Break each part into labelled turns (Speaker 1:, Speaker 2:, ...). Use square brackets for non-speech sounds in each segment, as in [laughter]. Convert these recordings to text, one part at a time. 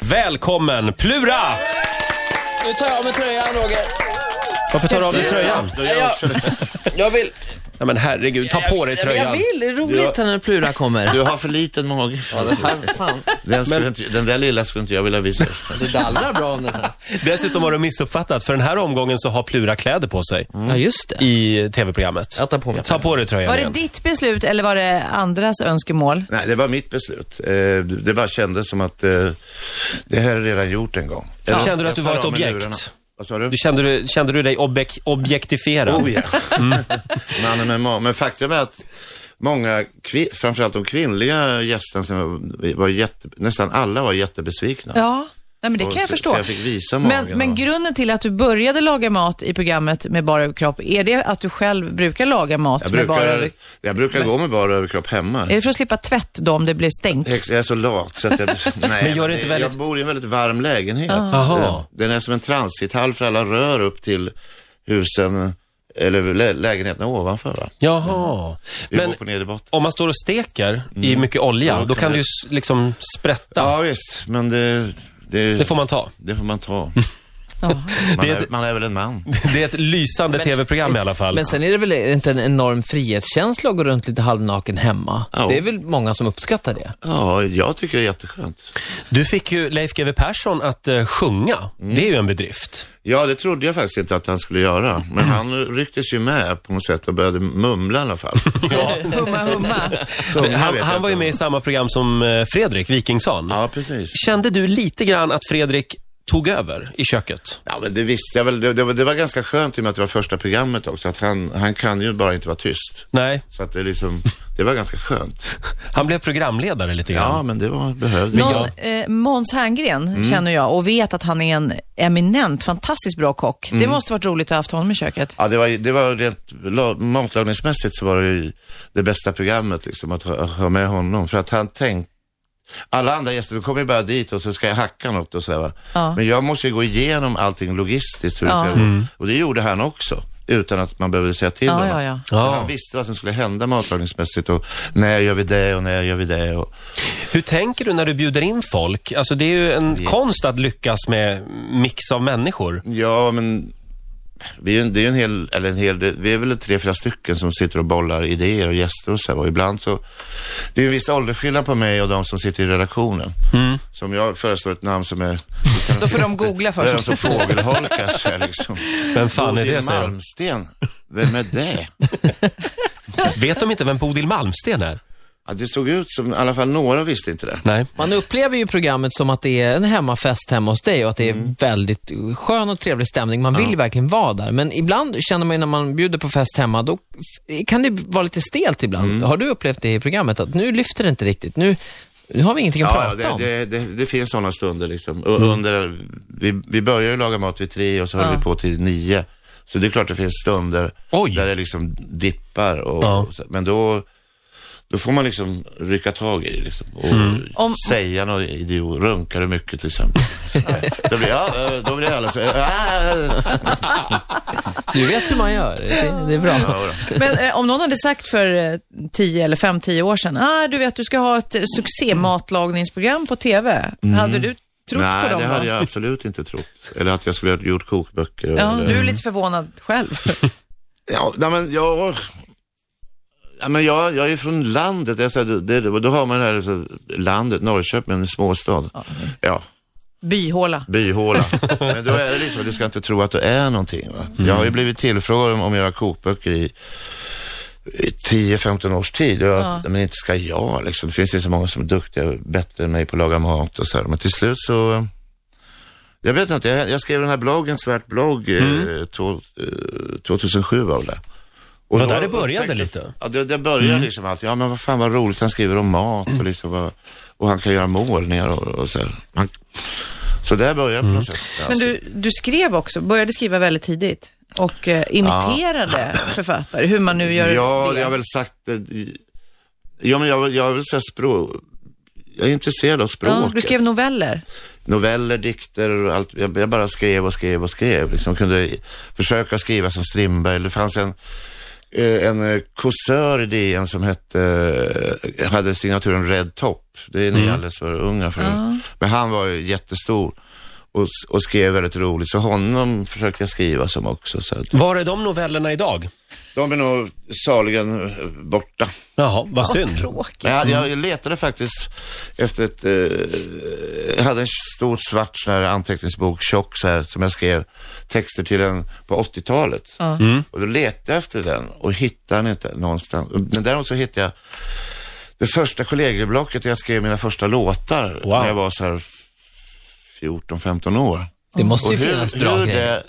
Speaker 1: välkommen Plura!
Speaker 2: Nu tar jag av mig tröjan, Roger.
Speaker 1: Varför tar du av dig tröjan?
Speaker 3: Då gör jag också det.
Speaker 2: [laughs] Jag vill...
Speaker 1: Nej men herregud, ta på dig
Speaker 2: Men jag
Speaker 1: tröjan.
Speaker 2: vill. Det är roligt
Speaker 3: Ja.
Speaker 2: när Plura kommer.
Speaker 3: Du har för liten mage.
Speaker 2: Fan,
Speaker 3: Den, skulle inte, den där lilla skulle inte jag vilja visa.
Speaker 2: det dallrar bra om den här.
Speaker 1: Dessutom har du missuppfattat, för den här omgången så har Plura kläder på sig
Speaker 2: Mm. Ja, just det.
Speaker 1: i tv-programmet.
Speaker 2: Jag tar på mig
Speaker 1: Ta på dig tröjan
Speaker 4: Var det
Speaker 1: igen.
Speaker 4: ditt beslut eller var det andras önskemål?
Speaker 3: Nej, det var mitt beslut. Eh, Det bara kändes som att eh, det här är redan gjort en gång. Eller-
Speaker 1: Kände du att du
Speaker 3: Jag
Speaker 1: var
Speaker 3: tar
Speaker 1: ett
Speaker 3: av mig
Speaker 1: objekt?
Speaker 3: lurarna. Vad sa du?
Speaker 1: Du kände, du, kände du dig objek- objektifierad?
Speaker 3: Oh ja. Mannen med ma- [laughs] Men faktum är att många, kvin- framförallt de kvinnliga gästerna, som var- var jätte, nästan alla var jättebesvikna.
Speaker 4: Ja, Nej, men det
Speaker 3: Och
Speaker 4: kan jag
Speaker 3: så-
Speaker 4: förstå.
Speaker 3: så jag fick visa magen
Speaker 4: men, men
Speaker 3: och-
Speaker 4: grunden till att du började laga mat i programmet med bara överkropp, är det att du själv brukar laga mat
Speaker 3: Jag
Speaker 4: med bara
Speaker 3: brukar,
Speaker 4: överkropp?
Speaker 3: jag brukar gå med bara överkropp hemma.
Speaker 4: Är det för att slippa tvätt då om det blir stänk?
Speaker 3: Ex- Jag är så lat så
Speaker 1: [laughs]
Speaker 3: att jag... Nej,
Speaker 1: Men gör det inte väldigt- Ah.
Speaker 3: jag bor i en väldigt varm lägenhet.
Speaker 1: Aha.
Speaker 3: Eh, Den är som en transithall för alla rör upp till husen, eller lä- lägenheterna ovanför. Va?
Speaker 1: Jaha.
Speaker 3: Vi
Speaker 1: Men
Speaker 3: bor på nederbotten.
Speaker 1: om man står och steker i mycket olja, då kan det ju s- liksom sprätta.
Speaker 3: Ja, visst, men det, det,
Speaker 1: Det får man ta.
Speaker 3: det får man
Speaker 1: [laughs]
Speaker 3: ta. [laughs]
Speaker 4: Ja.
Speaker 3: Man,
Speaker 1: Det är
Speaker 3: är,
Speaker 1: ett-
Speaker 3: man är väl en man.
Speaker 1: Det är ett lysande tv-program i alla fall.
Speaker 2: Men sen är det väl inte en enorm frihetskänsla att gå runt lite halvnaken hemma?
Speaker 3: Ja.
Speaker 2: Det är väl många som uppskattar det?
Speaker 3: Ja, jag tycker det är jätteskönt.
Speaker 1: Du fick ju Leif GW Persson att eh, sjunga.
Speaker 3: Mm.
Speaker 1: Det är ju
Speaker 3: [laughs]
Speaker 1: en bedrift.
Speaker 3: Ja, det trodde jag faktiskt inte att han skulle göra. Men
Speaker 1: Mm.
Speaker 3: han rycktes ju med på något sätt och började mumla i alla
Speaker 1: [laughs]
Speaker 3: fall.
Speaker 4: Humma, humma.
Speaker 3: Sjunga vet
Speaker 1: han
Speaker 3: jag
Speaker 1: han var ju
Speaker 3: inte.
Speaker 1: med i samma program som eh, Fredrik Wikingsson.
Speaker 3: Ja, precis.
Speaker 1: Kände du lite grann att Fredrik tog över i köket?
Speaker 3: Ja, men det visste jag väl. Det, det, var, det var ganska skönt i och med att det var första programmet också. Att han, han kan ju bara inte vara tyst.
Speaker 1: Nej,
Speaker 3: Så att det liksom, det var ganska skönt.
Speaker 1: han blev programledare lite grann.
Speaker 3: Ja, men det var behövligt.
Speaker 4: Någon, eh, Måns Herngren
Speaker 3: Mm.
Speaker 4: känner jag och vet att han är en eminent, fantastiskt bra kock.
Speaker 3: Mm.
Speaker 4: Det måste varit roligt att ha haft honom i
Speaker 3: [laughs]
Speaker 4: köket.
Speaker 3: Ja, det var, det var rent la- matlagningsmässigt så var det ju det bästa programmet liksom, att ha, ha med honom. För att han tänkte, alla andra gäster, då kommer ju bara dit och så ska jag hacka något och så här, va?
Speaker 4: Ja.
Speaker 3: Men jag måste ju gå igenom allting logistiskt hur det
Speaker 4: Ja.
Speaker 3: ska gå. Och det gjorde han också, utan att man behövde säga till
Speaker 4: Ja,
Speaker 3: honom.
Speaker 4: ja, ja.
Speaker 3: Så
Speaker 1: Ja.
Speaker 3: Han visste vad som skulle hända matlagningsmässigt och när gör vi det och när gör vi det. Och...
Speaker 1: Hur tänker du när du bjuder in folk? Alltså det är ju en konst att lyckas med mix av människor.
Speaker 3: Ja, men vi är, ju en- det är ju en hel, eller en hel, det- vi är väl tre, fyra stycken som sitter och bollar idéer och gäster och så här. Och ibland så, det är ju en viss åldersskillnad på mig och de som sitter i redaktionen.
Speaker 1: Mm.
Speaker 3: Som jag föreslår ett namn som är,
Speaker 4: Då får de googla
Speaker 3: det är de
Speaker 4: först.
Speaker 3: som fågelholkar sig liksom.
Speaker 1: Vem fan är
Speaker 3: Bodil
Speaker 1: det, säger de.
Speaker 3: Malmsten, vem är det?
Speaker 1: Vet de inte vem Bodil Malmsten är?
Speaker 3: Ja, det såg ut som, i alla fall några visste inte det.
Speaker 1: Nej.
Speaker 2: Man upplever ju programmet som att det är en hemmafest hemma hos dig och att det är
Speaker 3: Mm.
Speaker 2: väldigt skön och trevlig stämning. Man vill ju verkligen vara där. Men ibland känner man ju när man bjuder på fest hemma, då f- kan det vara lite stelt ibland.
Speaker 3: Mm.
Speaker 2: Har du upplevt det i programmet? Att nu lyfter det inte riktigt. Nu, nu har vi ingenting att
Speaker 3: Ja,
Speaker 2: prata
Speaker 3: ja,
Speaker 2: om.
Speaker 3: det, det, det, det finns sådana stunder liksom. Och
Speaker 4: Mm.
Speaker 3: Under, vi, vi börjar ju laga mat vid tre och så håller vi på till nio. Så det är klart det finns stunder
Speaker 1: Oj.
Speaker 3: där det liksom dippar. Och,
Speaker 1: Ja.
Speaker 3: och så- men då, då får man liksom rycka tag i det liksom, och
Speaker 4: Om-
Speaker 3: säga något idiot. Runkar du mycket
Speaker 4: [laughs]
Speaker 3: till exempel? då, blir, ja, eh, då blir alla så här, "Ah."
Speaker 2: Du vet hur man gör. Det, det är bra.
Speaker 4: Men eh, om någon hade sagt för eh, 10 eller 5-10 år sedan, ah, du vet du ska ha ett eh, succématlagningsprogram på TV. Hade du trott
Speaker 3: Mm. Nej,
Speaker 4: på dem
Speaker 3: det
Speaker 4: då?
Speaker 3: hade jag absolut inte trott. Eller att jag skulle ha gjort kokböcker.
Speaker 4: Ja,
Speaker 3: eller...
Speaker 4: du är lite förvånad själv.
Speaker 3: [laughs] Ja, nej men jag... Ja, men jag, jag är från landet, jag, säger, det, det, då har man det här så, landet, Norrköping, en småstad. Ja,
Speaker 4: Byhåla.
Speaker 3: byhåla. Men då är det liksom, du ska inte tro att du är någonting. Va? Jag har ju blivit tillfrågad om, om jag har kokböcker i, i 10-15 års tid. Och jag, Men inte ska jag liksom. Det finns ju så många som är duktiga och bättre än mig på att laga mat och så här. Men till slut så... Jag vet inte, jag, jag skrev den här bloggen, Svart blogg, eh, to, eh, 2007 var det. Och
Speaker 1: Var
Speaker 3: då
Speaker 1: där det började
Speaker 3: upptäckte-
Speaker 1: lite?
Speaker 3: Ja, det, det började
Speaker 4: Mm.
Speaker 3: liksom allt. Ja, men vad fan vad roligt, han skriver om mat och liksom vad, och han kan göra målningar och, och så här. Han, så där började jag på något sätt. Alltså, Ja,
Speaker 4: Mm. Men du, du skrev också, började skriva väldigt tidigt och eh, imiterade författare, hur man nu gör
Speaker 3: ja,
Speaker 4: det.
Speaker 3: jag har väl sagt... eh, Ja, men jag, vill- jag har väl sagt språk. Jag är intresserad av språket.
Speaker 4: Ja, du skrev noveller.
Speaker 3: Noveller, dikter och allt. Jag, jag bara skrev och skrev och skrev. Liksom kunde försöka skriva som Strindberg. Det fanns en eh, en eh, kåsör i DN som hette, eh, hade signaturen Red Top. Det är ni alldeles för unga för. Men han var ju jättestor och, s- och skrev väldigt roligt. Så honom försökte jag skriva som också. Så att,
Speaker 1: Var är de novellerna idag?
Speaker 3: de är nog saligen eh, borta.
Speaker 1: Jaha, vad synd.
Speaker 4: Tråkigt.
Speaker 3: Men jag, jag letade faktiskt efter ett... Eh, jag hade en stor svart sån här anteckningsbok, tjock så här, som jag skrev texter till en på 80-talet. Och då letade jag efter den och hittade den inte någonstans. Men däremot så hittade jag det första kollegieblocket där jag skrev mina första låtar
Speaker 1: Wow.
Speaker 3: när jag var så här 14-15 år.
Speaker 2: Det måste
Speaker 3: Och
Speaker 2: ju finnas bra
Speaker 3: hur, hur
Speaker 2: grejer.
Speaker 3: det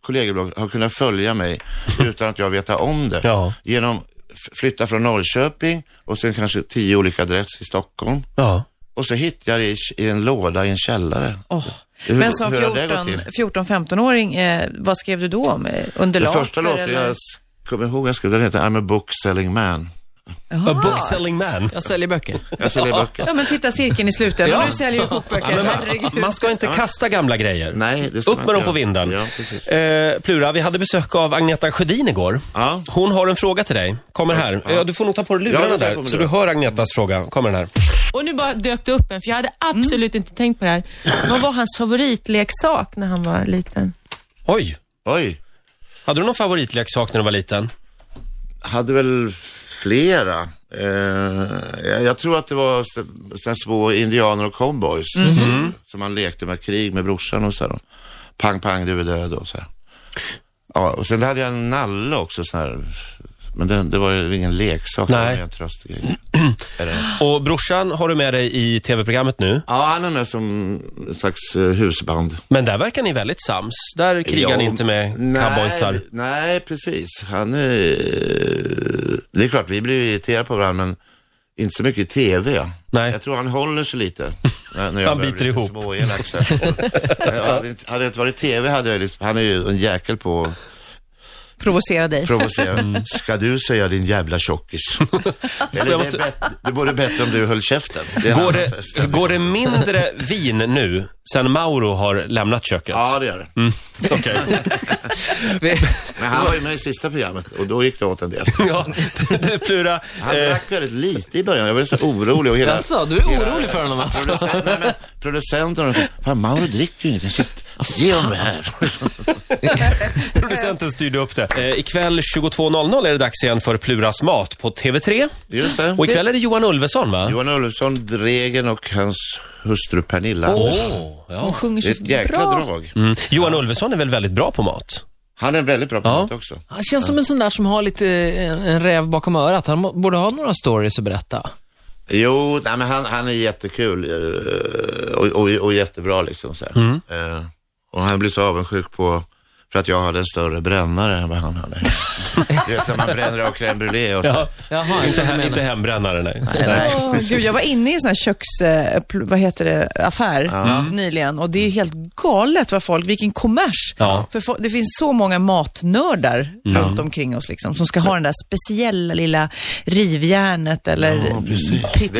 Speaker 3: kollegieblogg har kunnat följa mig
Speaker 1: [laughs]
Speaker 3: utan att jag vetar om det.
Speaker 1: Ja.
Speaker 3: Genom f- flytta från Norrköping och sen kanske tio olika adress i Stockholm.
Speaker 1: Ja.
Speaker 3: Och så hittade jag det i, i en låda i en källare.
Speaker 4: Åh.
Speaker 3: Hur-
Speaker 4: Men som
Speaker 3: hur har det gått
Speaker 4: 14, 14-15-åring, eh, vad skrev du då om? Eh,
Speaker 3: Den
Speaker 4: Undulater?
Speaker 3: första låten jag
Speaker 4: eller?
Speaker 3: s- kommer ihåg jag skrev, den heter I'm a book selling man.
Speaker 1: A bookselling man.
Speaker 2: Jag säljer böcker.
Speaker 1: Alltså,
Speaker 3: [laughs] Jag säljer böcker.
Speaker 4: Ja, men titta cirkeln i slutändan.
Speaker 1: Ja.
Speaker 4: Nu säljer du kokböcker.
Speaker 1: Men man,
Speaker 4: Herregud.
Speaker 1: man ska inte kasta gamla grejer.
Speaker 3: Nej, det ska
Speaker 1: Upp
Speaker 3: man
Speaker 1: med
Speaker 3: inte
Speaker 1: dem på
Speaker 3: göra.
Speaker 1: vinden.
Speaker 3: Ja, precis.
Speaker 1: Eh, Plura, vi hade besök av Agneta Sjödin igår.
Speaker 3: Ja.
Speaker 1: Hon har en fråga till dig. Kommer här. Ja, du får nog ta på dig
Speaker 3: Ja,
Speaker 1: lurarna
Speaker 3: jag tar på
Speaker 1: där,
Speaker 3: mig
Speaker 1: så du
Speaker 3: lurar.
Speaker 1: hör Agnetas fråga. Kommer den här.
Speaker 5: Och nu bara dök det upp en, för jag hade absolut inte tänkt på det här. Vad var hans favoritleksak när han var liten?
Speaker 1: Oj!
Speaker 3: Oj,
Speaker 1: Hade du någon favoritleksak när du var liten?
Speaker 3: hade väl flera. Eh, jag, jag tror att det var st- såna små indianer och cowboys som man lekte med krig med brorsan och så här. Pang, pang, du är död och så här. Ja, och sen hade jag en nalle också sån här. Men den, det var ju ingen leksak, det var
Speaker 1: Nej.
Speaker 3: ju en tröstgrej.
Speaker 1: Och brorsan har du med dig i tv-programmet nu.
Speaker 3: Ja, han är med som en slags eh, husband.
Speaker 1: Men där verkar ni väldigt sams. Där krigar
Speaker 3: Ja,
Speaker 1: ni inte med
Speaker 3: nej,
Speaker 1: cowboysar.
Speaker 3: Nej, precis. Han är... Det är klart, vi blir irriterade på varandra, men inte så mycket i TV.
Speaker 1: Nej.
Speaker 3: Jag tror han håller sig
Speaker 1: [laughs]
Speaker 3: lite. När, när jag
Speaker 1: Han
Speaker 3: börjar
Speaker 1: biter
Speaker 3: bli lite
Speaker 1: ihop.
Speaker 3: småelak så här.
Speaker 1: [laughs]
Speaker 3: Jag hade, inte- hade det inte varit TV hade jag liksom, han är ju en jäkel på att
Speaker 4: Provocera dig.
Speaker 3: provocera. Ska du säga din jävla
Speaker 1: [laughs]
Speaker 3: tjockis? Eller det,
Speaker 1: Mm. Jag
Speaker 3: är
Speaker 1: måste-
Speaker 3: bättre, det vore bättre om du höll käften. Det är en
Speaker 1: Går
Speaker 3: annan så här
Speaker 1: det,
Speaker 3: ställning.
Speaker 1: går det mindre vin nu, sen Mauro har lämnat köket?
Speaker 3: Ja, det gör det.
Speaker 1: Mm.
Speaker 3: [laughs]
Speaker 1: Okej.
Speaker 2: Vi-
Speaker 3: Men han var ju med i sista programmet och då gick det åt en del.
Speaker 1: ja, [laughs] du Plura.
Speaker 3: Han
Speaker 1: eh,
Speaker 3: drack väldigt lite i början. Jag blev så orolig och hela...
Speaker 2: Jaså, Alltså, du är orolig för honom alltså?
Speaker 3: Producent, nej, men, producenten och fan Mauro dricker ju ingenting. Så, Ge honom det här.
Speaker 1: Producenten styrde upp det. Eh, ikväll 22.00 är det dags igen för Pluras mat på TV3.
Speaker 3: Just det.
Speaker 1: Och ikväll är det Johan Ulveson, va?
Speaker 3: Johan Ulfsson, Dregen och hans hustru Pernilla.
Speaker 1: Oh, ja.
Speaker 4: Hon sjunger
Speaker 3: Det är
Speaker 4: så
Speaker 3: ett jäkla
Speaker 4: bra.
Speaker 3: drag.
Speaker 1: mm. Johan Ulveson är väl väldigt bra på mat?
Speaker 3: Han är väldigt bra på mat också.
Speaker 2: Han känns som en sån där som har lite en, en räv bakom örat. Han må- borde ha några stories att berätta.
Speaker 3: Jo, nej, men han, han är jättekul eh, och, och, och jättebra liksom. Så här. Eh, Och han blir så avundsjuk på för att jag hade en större brännare än vad han hade. du vet, när man bränner av crème brûlée och så.
Speaker 1: Ja.
Speaker 2: Jaha,
Speaker 1: inte,
Speaker 2: jag
Speaker 1: he-
Speaker 2: menar.
Speaker 1: inte hembrännare, nej.
Speaker 3: Nej.
Speaker 4: Åh, Gud, jag var inne i en sån här köks, eh, pl- vad heter det, affär nyligen och det är helt galet vad folk, vilken kommers.
Speaker 1: Ja.
Speaker 4: För fo- det finns så många matnördar runt omkring oss liksom, som ska ha den där speciella lilla rivjärnet eller ja,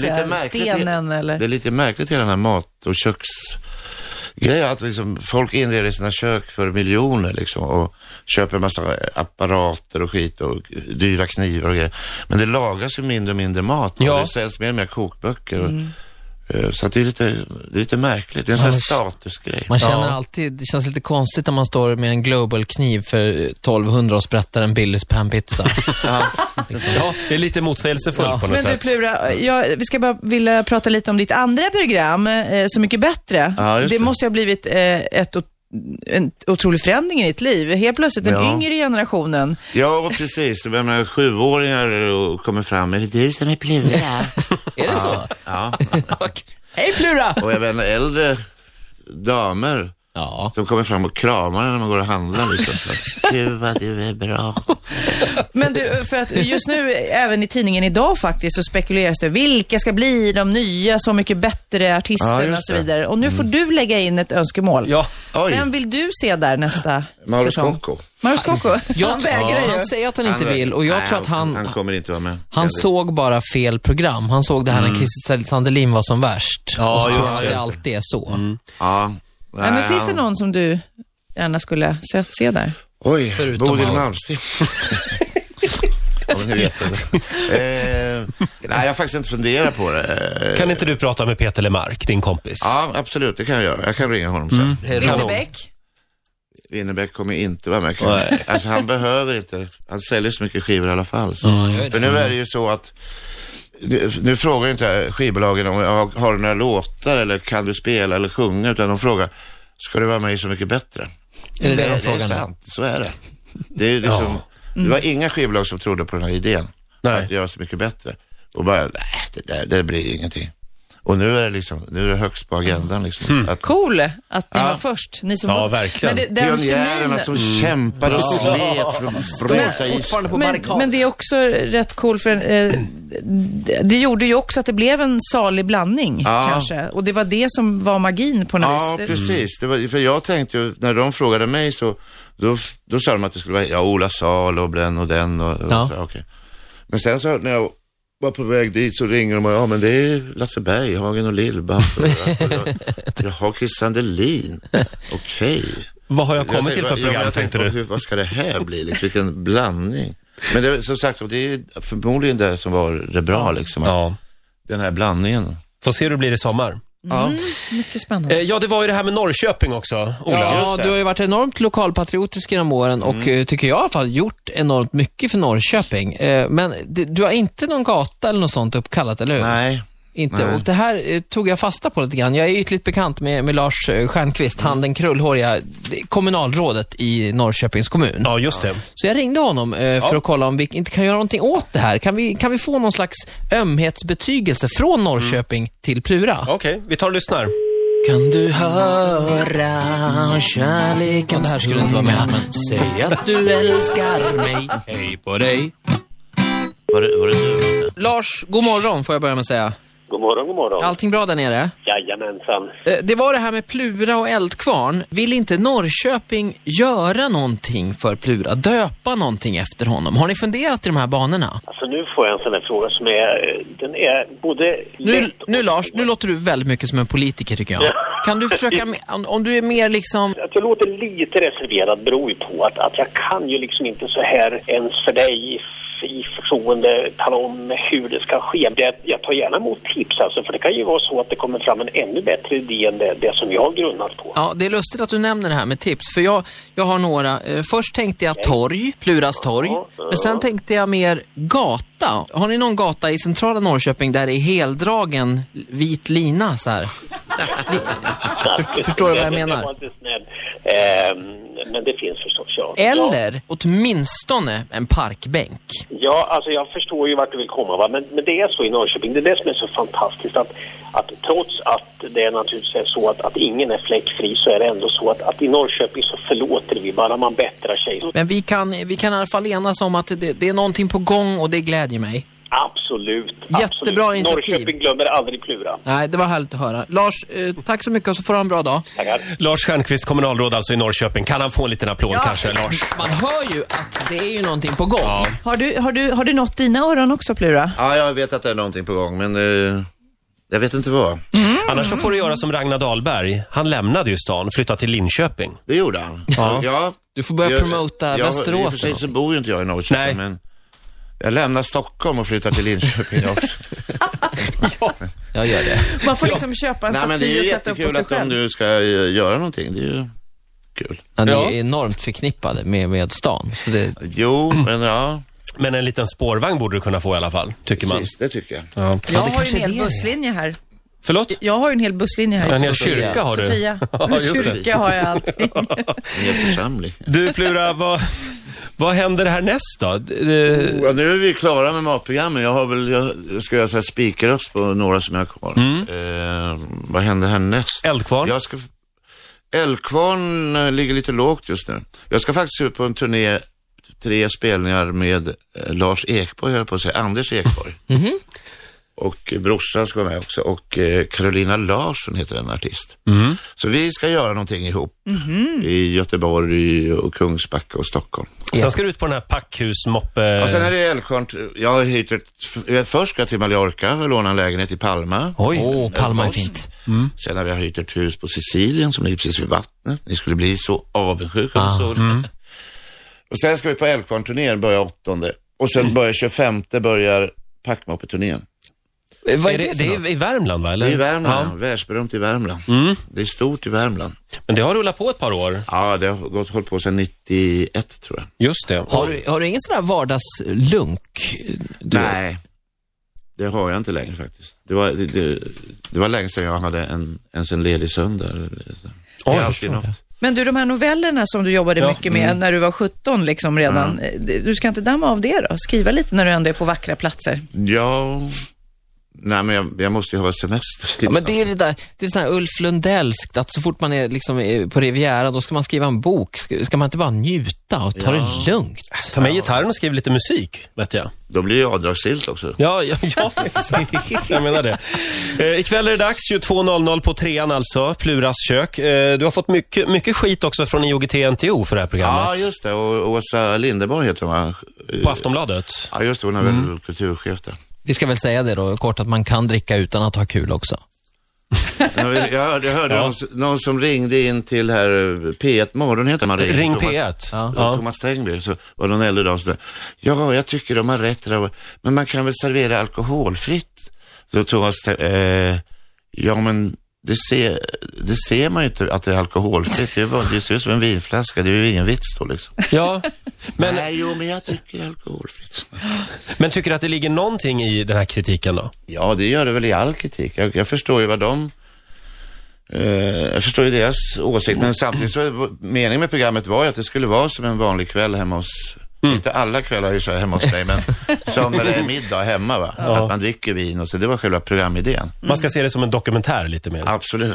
Speaker 4: pizzastenen eller...
Speaker 3: Det är lite märkligt hela den här mat och köksgrejen. Att liksom folk inreder sina kök för miljoner liksom och köper en massa apparater och skit och dyra knivar och grejer. Men det lagas ju mindre och mindre mat och
Speaker 1: Ja.
Speaker 3: det säljs mer och mer kokböcker. Och,
Speaker 2: Mm.
Speaker 3: eh, Så att det är lite, det är lite märkligt. Det är en sån här statusgrej.
Speaker 2: Man känner alltid, det känns lite konstigt när man står med en Global-kniv för eh, 1200 och sprättar en Billys [laughs] panpizza.
Speaker 1: Ja, det är lite motsägelsefullt på något
Speaker 4: Men du
Speaker 1: sätt.
Speaker 4: Plura, jag, vi ska bara vilja prata lite om ditt andra program, eh, Så mycket bättre.
Speaker 3: Ja, just
Speaker 4: det
Speaker 3: det.
Speaker 4: måste ju ha blivit eh, ett, ot- en otrolig förändring i ditt liv. Helt plötsligt den
Speaker 3: Ja.
Speaker 4: yngre generationen.
Speaker 3: Ja, och precis. Jag menar, sjuåringar och kommer fram. Är det du som
Speaker 2: [laughs]
Speaker 3: är Plura?
Speaker 2: är det så?
Speaker 3: ja.
Speaker 2: Hej Plura!
Speaker 3: Och även äldre damer
Speaker 2: Ja.
Speaker 3: som kommer fram och kramar en när man går och handlar. Liksom, så. Gud vad du är bra.
Speaker 4: Men du, för att just nu, även i tidningen idag faktiskt, så spekuleras det vilka ska bli de nya Så mycket bättre
Speaker 3: Ja,
Speaker 4: artisterna
Speaker 3: just
Speaker 4: och så
Speaker 3: det. Mm.
Speaker 4: vidare. Och nu får du lägga in ett önskemål.
Speaker 1: Ja.
Speaker 3: Oj.
Speaker 4: Vem vill du se där nästa
Speaker 3: Mauro
Speaker 4: säsong?
Speaker 3: Scocco.
Speaker 4: Mauro Scocco? Han vägrar ju.
Speaker 2: han säger att han inte vill och jag
Speaker 3: Nej,
Speaker 2: tror att han,
Speaker 3: Han kommer inte vara med.
Speaker 2: han såg bara fel program. Han såg det här när
Speaker 3: Mm.
Speaker 2: Christer Sandelin var som värst.
Speaker 1: Ja,
Speaker 2: och så tror
Speaker 1: just
Speaker 2: han att det alltid är så.
Speaker 3: Mm. Ja.
Speaker 4: Nej, men finns det
Speaker 3: han-
Speaker 4: någon som du gärna skulle se, se där?
Speaker 3: Oj,
Speaker 2: Förutom
Speaker 3: Bodil
Speaker 2: Mauro.
Speaker 3: Malmsteen. Ja, men
Speaker 2: [laughs]
Speaker 3: ni vet. eh, nej, jag har faktiskt inte funderat på det. Eh,
Speaker 1: Kan inte du prata med Peter Lemark, din kompis?
Speaker 3: Ja, absolut. Det kan jag göra. Jag kan ringa honom sen.
Speaker 2: Mm.
Speaker 4: Lindebäck.
Speaker 3: Winnerbäck kommer inte vara med. kanske. Alltså, han behöver inte. Han säljer så mycket skivor i alla fall. Så. För nu är det ju så att nu, nu frågar ju inte skivbolagen om har, har du några låtar eller kan du spela eller sjunga, utan de frågar ska du vara med i Så mycket bättre?
Speaker 2: Är det det de
Speaker 3: det är
Speaker 2: frågar nu?
Speaker 3: sant, så är det. Det, är ju liksom, det var inga skivbolag som trodde på den här idén,
Speaker 1: Nej.
Speaker 3: att göra Så mycket bättre. Och bara, nej, det, där, det blir ingenting. Och nu är det liksom, nu är det högst på agendan liksom.
Speaker 2: Hmm.
Speaker 3: Att
Speaker 4: Cool att ni var först. Ni som
Speaker 1: Ja,
Speaker 4: var...
Speaker 1: verkligen.
Speaker 4: Men det, den
Speaker 3: Pionjärerna
Speaker 4: kemin... Mm.
Speaker 3: som kämpade och slet för att bryta isen.
Speaker 2: på
Speaker 4: Men, men det är också rätt cool för eh, det- det gjorde ju också att det blev en salig blandning
Speaker 3: Ja.
Speaker 4: kanske. Och det var det som var magin på något
Speaker 3: Ja,
Speaker 4: vis. Det-
Speaker 3: precis. Det var, för jag tänkte ju, när de frågade mig så, då, då sa de att det skulle vara ja, Ola Salo och den och den och, och
Speaker 2: Ja.
Speaker 3: så, okej. Men sen så när jag var på väg dit så ringer de och ja men det är Lasse Berghagen och Lill-Babs. och- och- Jaha, Chris
Speaker 1: [laughs]
Speaker 3: Sandelin. Okej.
Speaker 1: Vad har jag kommit
Speaker 3: tänkte-
Speaker 1: till för
Speaker 3: ja, men
Speaker 1: program,
Speaker 3: jag
Speaker 1: tänkte
Speaker 3: på,
Speaker 1: du?
Speaker 3: Hur, vad ska det här bli? Liksom, vilken blandning. Men det, är som sagt, det är ju förmodligen det som var det bra, liksom, att
Speaker 1: Ja.
Speaker 3: den här blandningen.
Speaker 1: Får se hur det blir i sommar.
Speaker 3: Ja.
Speaker 4: Mycket spännande.
Speaker 1: Eh, Ja, det var ju det här med Norrköping också, Ola.
Speaker 2: Ja, du har ju varit enormt lokalpatriotisk genom åren och
Speaker 3: Mm.
Speaker 2: eh, tycker jag i alla fall gjort enormt mycket för Norrköping. Eh, Men du, du har inte någon gata eller något sånt uppkallat, eller hur?
Speaker 3: Nej,
Speaker 2: Inte.
Speaker 3: nej.
Speaker 2: Och det här eh, tog jag fasta på lite grann. Jag är ytligt bekant med, med Lars eh, Stjernkvist,
Speaker 3: Mm.
Speaker 2: han den krullhåriga det- kommunalrådet i Norrköpings kommun.
Speaker 1: Ja, just det.
Speaker 2: Så jag ringde honom eh, för att kolla om vi inte kan göra någonting åt det här. Kan vi, kan vi få någon slags ömhetsbetygelse från Norrköping
Speaker 3: Mm.
Speaker 2: till Plura?
Speaker 1: Okej, vi tar och lyssnar.
Speaker 6: Kan du höra kärlekens
Speaker 2: Det här skulle inte vara med, men-
Speaker 6: Säg att du älskar mig. Hej på dig.
Speaker 3: var det, var det du?
Speaker 2: Lars, god morgon får jag börja med att säga.
Speaker 7: God morgon, god morgon.
Speaker 2: Allting bra där nere?
Speaker 7: Jajamensan.
Speaker 2: Eh, Det var det här med Plura och Eldkvarn. Vill inte Norrköping göra någonting för Plura? Döpa någonting efter honom? Har ni funderat i de här banorna?
Speaker 7: Alltså nu får jag en sån här fråga som är, eh, den är både
Speaker 2: Nu,
Speaker 7: lätt och
Speaker 2: nu
Speaker 7: svår.
Speaker 2: Lars, nu låter du väldigt mycket som en politiker tycker jag. Kan du
Speaker 7: [laughs]
Speaker 2: försöka, med- om, om du är mer liksom...
Speaker 7: Att jag låter lite reserverad beror ju på att, att jag kan ju liksom inte så här ens för dig i förtroende tala om hur det ska ske. Det, jag tar gärna emot tips alltså, för det kan ju vara så att det kommer fram en ännu bättre idé än det, det som jag har grunnat på.
Speaker 2: Ja, det är lustigt att du nämner det här med tips, för jag, jag har några. Eh, först tänkte jag torg, Pluras torg, men sen tänkte jag mer gata. Har ni någon gata i centrala Norrköping där det är heldragen vit lina så här? För- förstår du vad jag
Speaker 7: Det- det-
Speaker 2: menar?
Speaker 7: Det var inte snäll. Ehm, men det finns förstås, ja. Ja.
Speaker 2: Eller åtminstone en parkbänk.
Speaker 7: Ja, alltså jag förstår ju vart du vill komma. Va? Men, men det är så i Norrköping. Det är det som är så fantastiskt. Att, att trots att det är naturligtvis är så att, att ingen är fläckfri så är det ändå så att, att i Norrköping så förlåter vi bara man bättrar sig.
Speaker 2: Men vi kan, vi kan i alla fall enas om att det, det är någonting på gång och det glädjer mig.
Speaker 7: Absolut.
Speaker 2: Jättebra
Speaker 7: absolut.
Speaker 2: initiativ.
Speaker 7: Norrköping glömmer aldrig Plura.
Speaker 2: Nej, det var härligt att höra. Lars, eh, tack så mycket och så får du ha en bra dag.
Speaker 7: Tackar.
Speaker 1: Lars Stjernkvist, kommunalråd alltså i Norrköping. Kan han få en liten applåd kanske, Lars?
Speaker 2: Man hör ju att det är ju någonting på gång.
Speaker 4: Har, du, har, du, har du nått dina öron också Plura?
Speaker 3: Ja, jag vet att det är någonting på gång, men eh, jag vet inte vad.
Speaker 1: Annars så får du göra som Ragnar Dahlberg. Han lämnade ju stan, flyttade till Linköping.
Speaker 3: Det gjorde han. Ja. Jag,
Speaker 2: Du får börja
Speaker 3: jag-
Speaker 2: promota Västerås
Speaker 3: I och för sig
Speaker 2: eller
Speaker 3: så bor ju inte jag i
Speaker 1: Nej.
Speaker 3: Norrköping, men jag lämnar Stockholm och flyttar till Linköping också.
Speaker 2: Jag gör det.
Speaker 4: Man får liksom köpa en
Speaker 3: Nej, men det
Speaker 4: staty
Speaker 3: är ju
Speaker 4: och sätta upp på
Speaker 3: jättekul
Speaker 4: sig
Speaker 3: att de
Speaker 4: själv.
Speaker 3: nu ska eh, göra någonting. Det är ju kul.
Speaker 2: Ja, ni
Speaker 1: Ja.
Speaker 2: är enormt förknippade med, med stan. Så det,
Speaker 3: Jo, men [clears throat] ja,
Speaker 1: Men en liten spårvagn borde du kunna få i alla fall, tycker man.
Speaker 3: precis, det tycker jag.
Speaker 1: Ja.
Speaker 4: Jag har ju
Speaker 2: kanske
Speaker 4: en hel
Speaker 2: är det.
Speaker 4: busslinje här.
Speaker 1: Förlåt?
Speaker 4: Jag har ju en hel busslinje här.
Speaker 1: En hel
Speaker 2: Sofia.
Speaker 1: kyrka har du.
Speaker 4: Sofia.
Speaker 1: Ja, just det.
Speaker 4: Kyrka har jag allting.
Speaker 3: En hel församling.
Speaker 1: Du Plura, vad, vad händer härnäst då? Eh,
Speaker 3: Ja, nu är vi klara med matprogrammen. Jag har väl, jag ska göra så här spikröst på några som jag har kvar. Eh, vad händer härnäst?
Speaker 1: Eldkvarn?
Speaker 3: Jag ska... Älvkvarn eh, ligger lite lågt just nu. Jag ska faktiskt ut på en turné, tre spelningar med eh, Lars Ekborg, höll jag på att säga, Anders Ekborg. Och eh, brorsan ska vara med också och eh, Carolina Larsson heter en artist. Så vi ska göra någonting ihop i Göteborg och Kungsbacka och Stockholm.
Speaker 1: Sen ska du ut på den här packhusmoppe...
Speaker 3: Och sen är det Älvkvarn, jag har hyrt ett, f- först ska jag till Mallorca och låna en lägenhet i Palma.
Speaker 1: Oj.
Speaker 2: åh, Palma är
Speaker 3: Oss.
Speaker 2: fint.
Speaker 3: Sen har vi hyrt ett hus på Sicilien som ligger precis vid vattnet. Ni skulle
Speaker 2: Ah, mm.
Speaker 3: [laughs] bli så avundsjuka om ni såg det. Och sen ska vi på Älvkvarn-turnén börja åttonde Och sen börjar 25 börjar Packmoppe-turnén.
Speaker 2: Eh, Vad
Speaker 1: Är det, det
Speaker 2: för något?
Speaker 1: är i Värmland, va? Eller?
Speaker 3: Det är i Värmland,
Speaker 1: Ja.
Speaker 3: världsberömt i Värmland.
Speaker 2: Mm.
Speaker 3: Det är stort i Värmland.
Speaker 1: Men det har rullat på ett par år.
Speaker 3: Ja, det har gått, hållit på sedan 91 tror jag.
Speaker 1: Just det.
Speaker 2: Har du, har du ingen sån där vardagslunk? Du,
Speaker 3: Nej, det har jag inte längre faktiskt. Det var, det, det, det var länge sedan jag hade en, ens en ledig söndag. Det är alltid något.
Speaker 4: Men du, de här novellerna som du jobbade
Speaker 1: Ja.
Speaker 4: mycket med när du var 17 liksom redan. eh, Du ska inte damma av det då? Skriva lite när du ändå är på vackra platser.
Speaker 3: Ja, nej men jag, jag måste ju ha semester.
Speaker 2: Ja, men det är det där, det är sån här Ulf Lundellskt, att så fort man är liksom eh, på Riviera, då ska man skriva en bok. Ska, ska man inte bara njuta och ta det lugnt?
Speaker 1: Ta med gitarren och skriv lite musik, vet jag.
Speaker 3: Då blir det ju avdragsgillt också.
Speaker 1: Ja, ja, ja precis. jag menar det. Eh, ikväll är det dags, 22.00 på trean alltså, Pluras kök. Eh, du har fått mycket, mycket skit också från IOGT-NTO för det här programmet.
Speaker 3: Ja, just det. Och Åsa Linderborg heter hon va?
Speaker 1: På Aftonbladet.
Speaker 3: Ja, just det. Hon är väl kulturchef där.
Speaker 2: Vi ska väl säga det då, kort, att man kan dricka utan att ha kul också.
Speaker 3: Jag, vill- jag hörde, jag hörde någon, s- någon som ringde in till här eh, P1 Morgon heter man.
Speaker 1: Ring
Speaker 3: Thomas-
Speaker 1: P1.
Speaker 2: Ja.
Speaker 1: Ja.
Speaker 3: Thomas Tengby, så var det någon äldre dam som sa, ja, jag tycker de har rätt, där, men man kan väl servera alkoholfritt? Så Thomas, Teng- eh, ja men det ser, det ser man ju inte att det är alkoholfritt. Det, är bara, det ser ut som en vinflaska, det är ju ingen vits då liksom.
Speaker 1: Ja. Men,
Speaker 3: Nej, jo, men jag tycker det är alkoholfritt.
Speaker 1: men tycker du att det ligger någonting i den här kritiken då?
Speaker 3: Ja, det gör det väl i all kritik. Jag, jag förstår ju vad de... Eh, jag förstår ju deras åsikt, men samtidigt så var- meningen med programmet var ju att det skulle vara som en vanlig kväll hemma hos Inte alla kvällar är ju så här hemma hos dig, men som när det är middag hemma. Va? Att man dricker vin och så. Det var själva programidén.
Speaker 1: Man ska se det som en dokumentär lite mer.
Speaker 3: Absolut.